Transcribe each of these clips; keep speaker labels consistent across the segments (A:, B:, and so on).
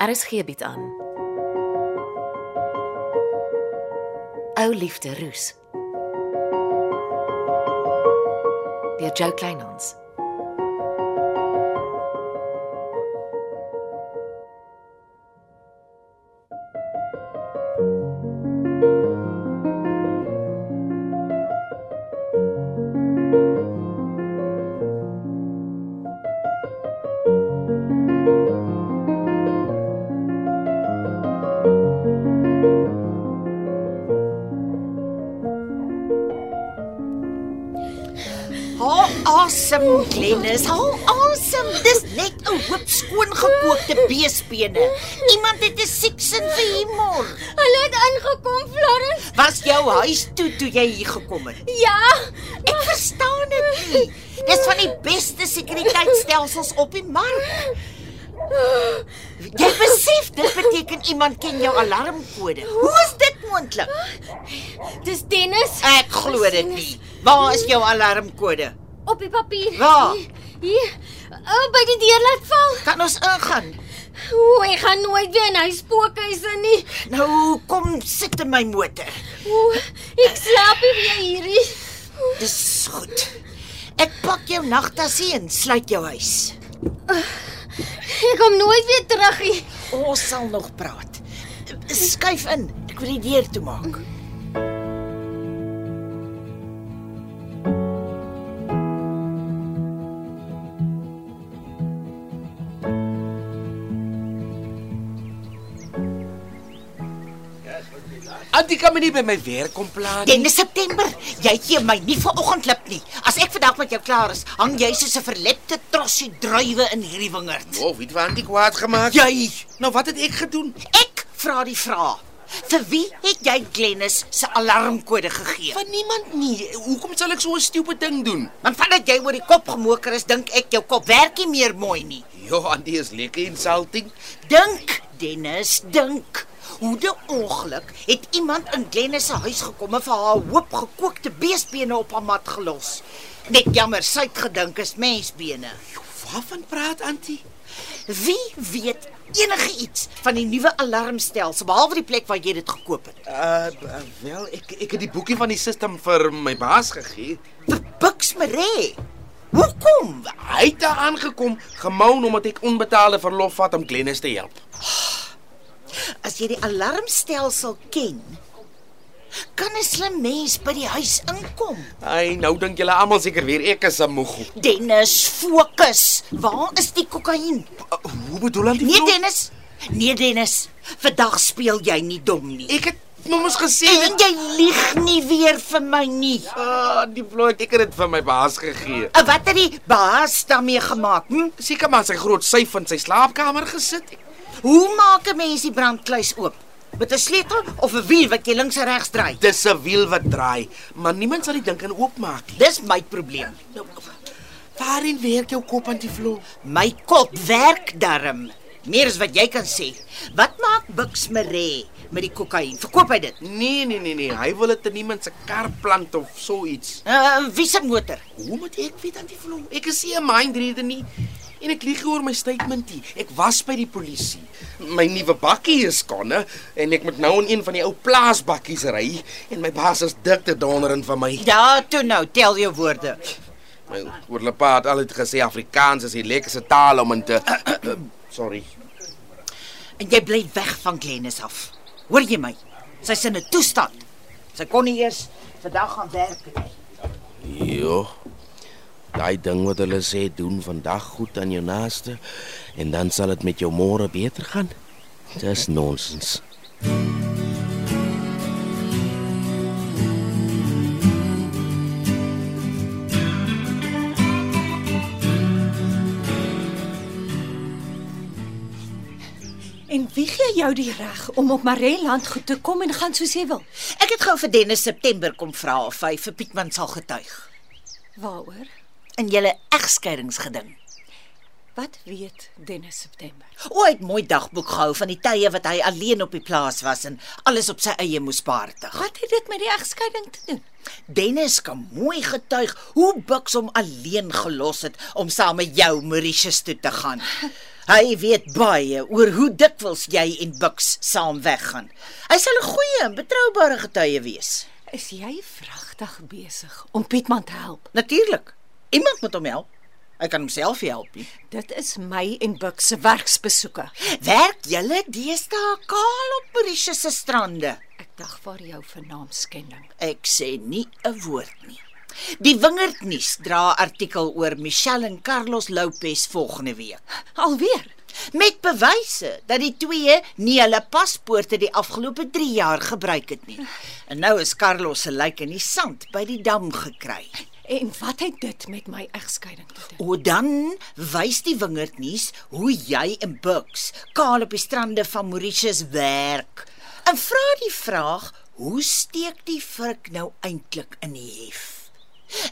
A: RSG bied Er aan. Ou liefde roes. Deur Jo Kleinhans.
B: Haal asem, Glennis. Haal asem. Dis net 'n hoop skoongekookte beespene. Iemand het 'n siek sin vir humor.
C: Hulle het ingekom, Florence.
B: Was jou huis toe toe jy hier gekom het?
C: Ja.
B: Ek verstaan dit nie. Dis van die beste sekuriteitstelsels op die mark. Jy besef dit beteken iemand ken jou alarmkode. Hoe is dit moontlik?
C: Dis Dennis
B: Ek glo dit nie. Waar is jou alarmkode?
C: op die papier.
B: Waar?
C: Hier. Oh, by die deur laat val.
B: Kan ons ingaan?
C: Ooh, hy gaan nooit weer in hy spookhuis in nie.
B: Nou kom sit in my motor.
C: Ooh, ek slaap nie weer hierdie.
B: Dis goed. Ek pak jou nagtasie en sluit jou huis.
C: Ek kom nooit weer terug nie.
B: Ons sal nog praat. Skuif in. Ek wil die deur toe maak.
D: Antie kan my nie by my werk kom pla nie.
B: Dennis September, jy gee my nie vanoggend lip nie. As ek vandag met jou klaar is, hang jy soos 'n verlepte trossie druiwe in hierdie wingerd.
D: Of het Antie kwaad gemaak?
B: Jy,
D: Nou wat het ek gedoen?
B: ek vra die vraag. Vir wie het jy Glennis se alarmkode gegee?
D: Van niemand nie. Hoekom sal ek so 'n stupid ding doen?
B: Want vandat jy oor die kop gemoker is, dink ek jou kop werk nie meer mooi nie.
D: Ja, Antie is lekker insulting.
B: Dink, Dennis, dink. Hoe die ongeluk het iemand in Glennis se huis gekom en vir haar hoop gekookte beesbene op haar mat gelos. Net jammer, sy het gedink is mensbene.
D: Waarvan praat Antie?
B: Wie weet enige iets van die nuwe alarmstelsel behalwe die plek waar jy dit gekoop het?
D: Uh b- wel, ek ek het die boekie van die sisteem vir my baas gegee.
B: Vir Bux Maree. Hoekom?
D: Hy het daar aangekom gemou omdat ek onbetaalde verlof vat om Glennis te help.
B: As jy die alarmstelsel ken, kan 'n slim mens by die huis inkom.
D: Ai, nou dink julle almal seker weer ek is 'n moegel.
B: Dennis, fokus. Waar is die kokain?
D: Uh, hoe bedoel Antie?
B: Nee
D: vrou?
B: Dennis. Nee Dennis. Vandag speel jy nie dom nie.
D: nee. Ek het nommers gesê.
B: En jy lieg nie weer vir my nie.
D: Ah, die vloek ek het dit vir my baas gegee.
B: En Wat het die baas daarmee gemaak? Hm?
D: Seker maar sy groot syf in sy slaapkamer gesit.
B: Hoe maak 'n mens die brandkluis oop? Met 'n sleutel of 'n wiel wat jy links en regs draai?
D: Dis 'n wiel wat draai, maar niemand sal dit dink en oopmaak nie.
B: Dis my probleem.
D: Nou, Waarin werk jou kop aan die vloer?
B: My kop werk darm. Meer as wat jy kan sê. Wat maak Bux Maree met die kokain? Verkoop hy dit?
D: Nee, nee, nee, nee, hy wil dit in iemand se kar plant of so iets.
B: Uh, wie se motor?
D: Hoe moet ek weet aan die vloer? Ek is nie 'n mind reader nie. En ek lieg oor my statementie. Ek was by die polisie. My nuwe bakkie is konne en ek moet nou in een van die ou plaasbakkies ry en my baas is dik te donderend van my.
B: Ja, toe nou, tel jou woorde.
D: My oorlepa het altyd gesê Afrikaans is die lekkerste taal om in te Sorry.
B: En jy bly weg van Glennis af. Hoor jy my? Sy's in 'n toestand. Sy kon nie eers vandag gaan werk nie.
D: Jo. Daai ding wat hulle sê doen vandag goed aan jou naaste en dan sal dit met jou môre beter gaan. Dis nonsens.
E: En wie gee jou die reg om op Mareland goed te kom en gaan soos jy wil?
B: Ek het gou vir Dennis September kom vra of hy vir Pietman sal getuig
E: Waaroor?
B: in julle egskeidingsgeding.
E: Wat weet Dennis September?
B: O, hy het mooi dagboek gehou van die tye wat hy alleen op die plaas was en alles op sy eie moes behartig.
E: Wat het dit met die egskeiding te doen?
B: Dennis kan mooi getuig hoe Bucks hom alleen gelos het om saam met jou Mauritius toe te gaan. Hy weet baie oor hoe dikwels jy en Bux saam weggaan. Hy sal 'n goeie en betroubare getuie wees.
E: Is jy vragtig besig om Pietman te help?
B: Natuurlik. Iemand moet hom help. Hy kan homself nie help nie.
E: Dit is my en Buck se werksbesoeke.
B: Werk julle deesdae kaal op Mauritius se strande?
E: Ek dagvaar jou vir naamskending.
B: Ek sê nie 'n woord nie. Die Wingerdnuus dra 'n artikel oor Michelle en Carlos Lopez volgende week.
E: Alweer.
B: met bewyse dat die twee nie hulle paspoorte die afgelope 3 jaar gebruik het nie. En nou is Carlos se lijk in die sand by die dam gekry.
E: En wat het dit met my egskeiding te doen?
B: O dan wys die wingerdnuus hoe jy in Bucks, kaal op die strande van Mauritius werk. En vra die vraag, hoe steek die vrik nou eintlik in die hef?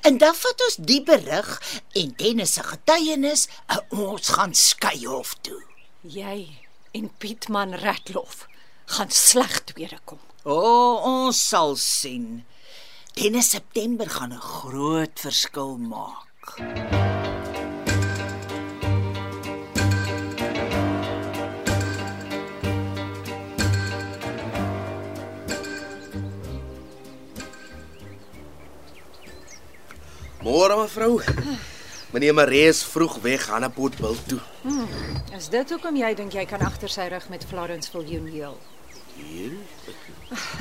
B: En dan vat ons die berig en Dennis se getuienis en ons gaan skei hof toe.
E: Jy en Pietman Ratloff gaan sleg tweede kom.
B: O, oh, ons sal sien. Dennis September gaan 'n groot verskil maak.
D: Môre mevrou. Meneer Maree is vroeg weg aan 'n potbil toe.
E: Is dit hoekom jy dink jy kan agter sy rug met Florence Viljoen heel?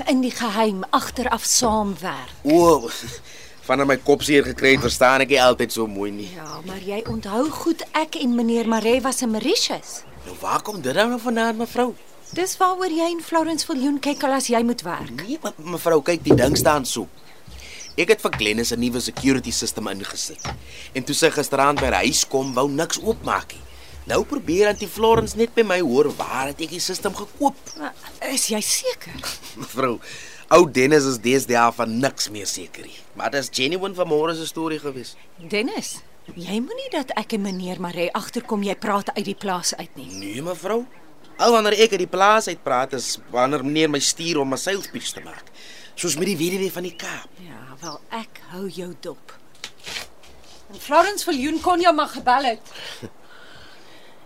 E: In die geheim agteraf saamwerk.
D: O, vanaf my kop seer gekry het, verstaan ek nie altyd so mooi nie.
E: Ja, maar jy onthou goed ek en meneer Maree was in Mauritius.
D: Nou waar kom dit nou vandaan mevrou?
E: Dis waaroor jy en Florence Viljoen kyk al as jy moet werk.
D: Nee, me- mevrou, kyk die ding staan soep. Ek het vir Glennis 'n nuwe security system ingesit. En toe sy gisteraand by die huis kom, wou niks oopmaak nie. Nou probeer Auntie Florence net by my hoor waar het ek die system gekoop?
E: Maar is jy seker?
D: Mevrou, ou Dennis is deesdae van niks meer seker nie. Maar dit is genuine van môre se storie gewees.
E: Dennis, jy moenie dat ek en meneer Maree agterkom jy praat uit die plaas uit nie.
D: Nee, mevrou. Al wanneer ek uit die plaas uit praat, is wanneer meneer my stuur om 'n sales pitch te maak. Soos met die weduwee van die Kaap.
E: Ja, wel ek hou jou dop. En Florence Viljoen kon jou maar gebel het.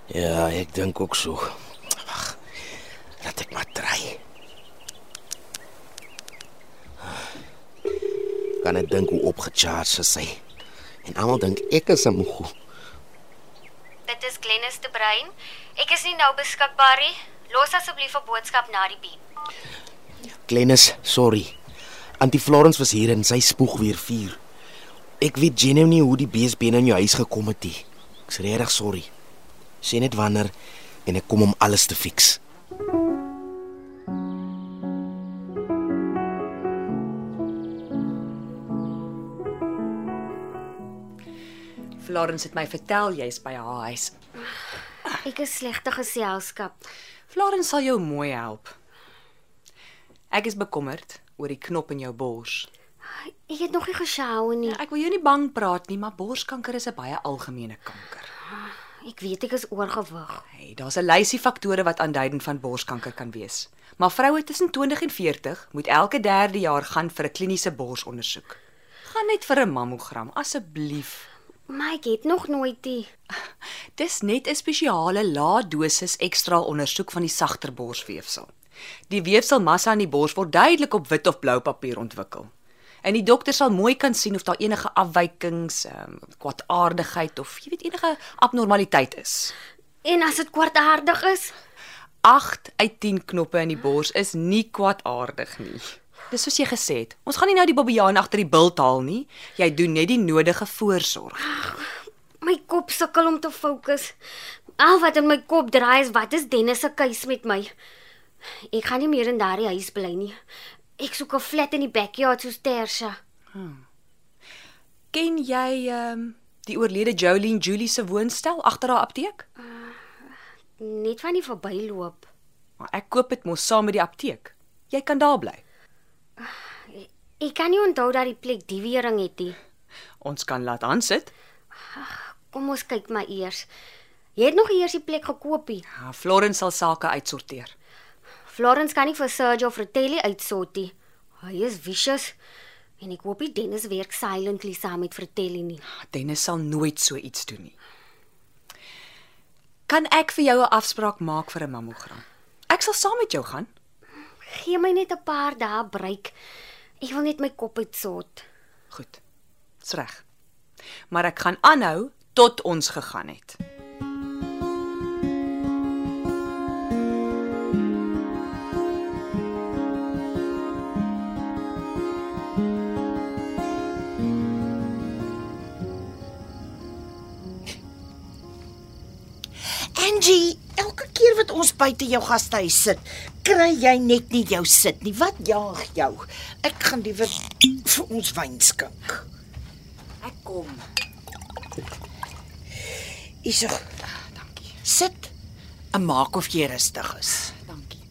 D: Ja, ek dink ook so. Wag. Laat ek maar try. Kan ek dink hoe opgecharge sy. En almal dink ek is 'n moeg.
F: Dit is Glennis te brein. Ek is nie nou beskikbaar nie. Los asseblief 'n boodskap na die piep.
D: Glennis, sorry. Auntie Florence was hier en sy spoeg weer vuur. Ek weet genoeg nie hoe die beesbene in jou huis gekom het nie. Ek's regtig sorry. Sê net wanneer en ek kom om alles te fix.
G: Florence het my vertel jy's by haar huis.
F: Ek is slegte geselskap.
G: Florence sal jou mooi help. Ek is bekommerd oor die knop in jou bors. Ja,
F: Ek het nog nie geshower nie.
G: Ek wil jou nie bang praat nie, maar borskanker is 'n baie algemene kanker.
F: Ek weet ek is oorgewig.
G: Hey, daar's 'n lysie faktore wat aanduidend van borskanker kan wees. Maar vroue tussen 20 en 40 moet elke derde jaar gaan vir 'n kliniese borsondersoek. Gaan net vir 'n mammogram asseblief.
F: Maar ek het nog nooit die
G: Dis net 'n spesiale lae dosis ekstra ondersoek van die sagter borsweefsel. Die weefselmassa in die bors word duidelik op wit of blou papier ontwikkel. En die dokter sal mooi kan sien of daar enige afwykings, um, kwaadaardigheid of jy weet enige abnormaliteit is.
F: En as dit kwarthartig is,
G: 8 uit 10 knoppe in die bors is nie kwaadaardig nie. Dis soos jy gesê het. Ons gaan nie nou die babiaan agter die bult haal nie. Jy doen net die nodige voorsorg.
F: my kop sukkel om te fokus. Al wat in my kop draai is wat is Dennis se keuse met my? Ek gaan nie meer in daardie huis bly nie. Ek soek 'n flat in die backyard soos Tersha.
G: Ken jy ehm um, die oorlede Jolene Julie se woonstel agter haar apteek?
F: Net van die verbyloop.
G: Maar ek koop dit mos saam met die apteek. Jy kan daar bly.
F: Ek kan nie onthou dat die plek die wering het nie.
G: Ons kan laat aansit.
F: Kom ons kyk maar eers. Jy het nog eers die plek gekoop. nie.
G: Ja, Florence sal sake uitsorteer.
F: Florence kan nie vir Sergio Fratelli uitsortie. Hy is vicious en ek hoop die Dennis werk silently saam met Fratelli nie.
G: Dennis sal nooit so iets doen nie. Kan ek vir jou 'n afspraak maak vir 'n mammogram? Ek sal saam met jou gaan.
F: Gee my net 'n paar dae breek. Ek wil net my kop uitsort.
G: Goed. Dis reg. Maar ek gaan aanhou tot ons gegaan het.
B: Angie, elke keer wat ons buite jou gastehuis sit, kry jy net nie jou sit nie. Wat jaag jou? Ek gaan liewer vir ons wyn skink. Ek kom. Isog,
E: Ah,
B: dankie. Sit. En maak of jy rustig is.
G: Dankie.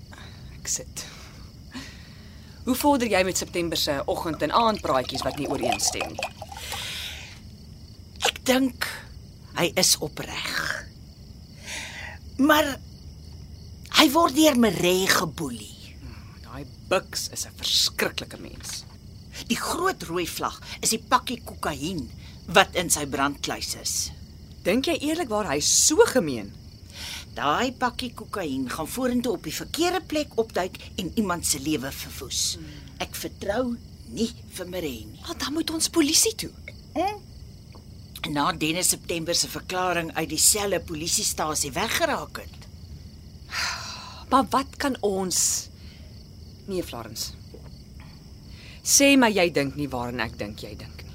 G: Ek sit. Hoe vorder jy met September se oggend en aandpraatjies wat nie ooreenstem nie?
B: Ek dink hy is opreg. Maar hy word deur Maree geboelie.
G: Daai Bux is 'n verskriklike mens.
B: Die groot rooi vlag is die pakkie kokain wat in sy brandkluis is.
G: Dink jy eerlikwaar hy is so gemeen?
B: Daai pakkie kokain gaan vorentoe op die verkeerde plek opduik en iemand se lewe verwoes. Ek vertrou nie vir Maree nie.
G: Wat dan moet ons polisie toe?
B: Na Dennis September se verklaring uit dieselfde polisiestasie weggeraak het.
G: Maar wat kan ons Nee, Florence. Sê my jy dink nie waarin ek dink jy dink nie.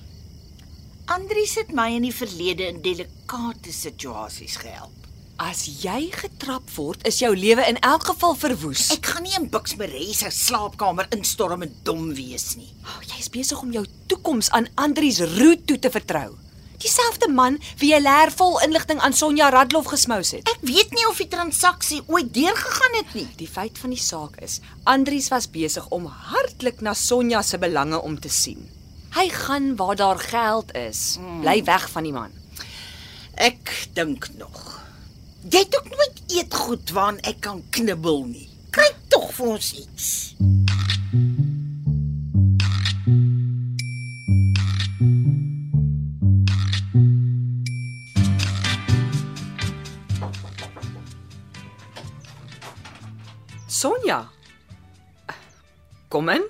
B: Andri het my in die verlede in delikate situasies gehelp.
G: As jy getrap word, is jou lewe in elk geval verwoes.
B: Ek gaan nie in Bux Maree se slaapkamer instorm en dom wees nie.
G: Oh, jy is besig om jou toekoms aan Andrius Root toe te vertrou. Dieselfde man wie jy leervol inligting aan Sonja Radloff gesmous het.
B: Ek weet nie of die transaksie ooit deurgegaan het nie.
G: Die feit van die saak is, Andrius was besig om hartlik na Sonja se belange om te sien. Hy gaan waar daar geld is. Bly weg van die man.
B: Ek dink nog. Jy het ook nooit eetgoed waaraan ek kan knibbel nie. Kry tog vir ons iets.
G: Sonja. Kom in.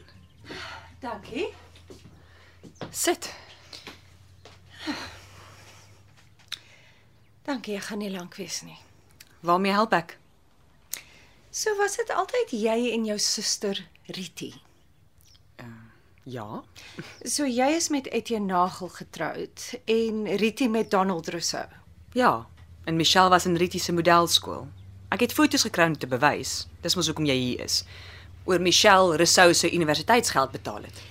E: Dankie.
G: Sit.
E: Dankie, ek gaan nie lank wees nie.
G: Waarmee help ek?
E: So was dit altyd jy en jou suster Riti.
G: Ja.
E: So jy is met Etienne Nagel getroud en Riti met Donald Rousseau.
G: Ja. En Michelle was in Rietie se modelskool. Ek het foto's gekry om te bewys. Dis mos hoekom jy hier is. Oor Michelle Rousseau se universiteitsgeld betaal het.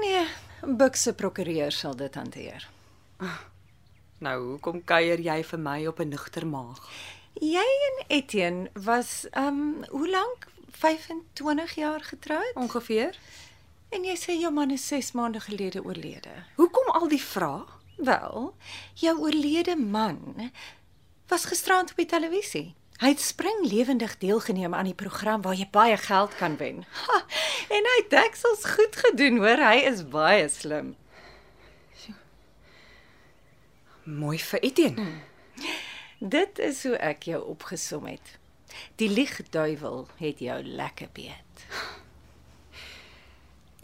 E: Nee, Buk se prokureur sal dit hanteer.
G: Nou, hoekom kuier jy vir my op 'n nugter maag?
E: Jy en Etienne was ehm um, hoe lank? 25 jaar getroud?
G: Ongeveer.
E: En jy sê jou man is 6 maande gelede oorlede.
G: Hoekom al die vrae?
E: Wel, jou oorlede man was gisterand op die televisie. Hy het spring lewendig deelgeneem aan die program waar jy baie geld kan wen. Ha, en hy het deksels goed gedoen, hoor. Hy is baie slim.
G: Mooi vir Etienne.
E: Dit is hoe ek jou opgesom het. Die liegduiwel het jou lekker beet.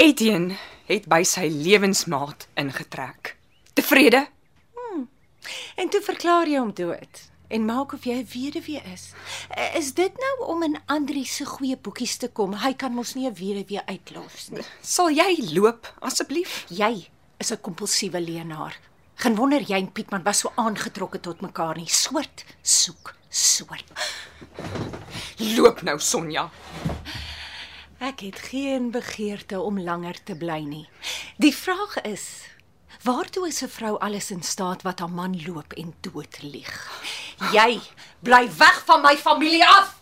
G: Etienne het by sy lewensmaat ingetrek. Tevrede?
E: En toe verklaar jy hom dood en maak of jy 'n weduwee is. Eh, Is dit nou om in Andri se goeie boekies te kom? Hy kan mos nie 'n weduwee uitlos nie.
G: Sal jy loop asseblief?
E: Jy is 'n kompulsiewe leienaar. Geen wonder jy en Pietman was so aangetrokke tot mekaar nie. Soort soek soort.
G: Loop nou, Sonja.
E: Ek het geen begeerte om langer te bly nie. Die vraag is Waartoe is 'n vrou alles in staat wat haar man loop en dood lieg? Jy bly weg van my familie af.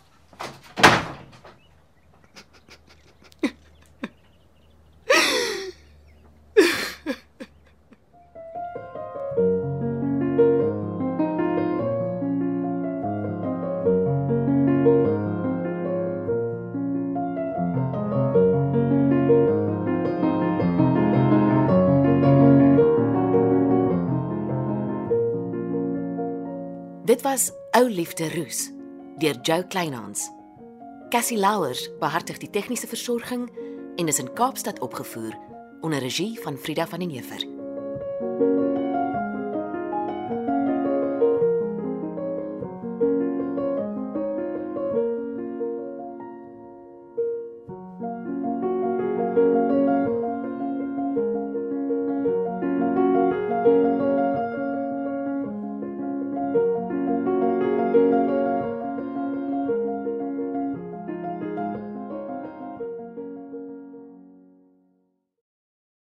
A: Dit was Ou Liefde Roos deur Jo Kleinhans. Cassie Louwers behartig die tegniese versorging en is in Kaapstad opgevoer onder regie van Frida van den Heever.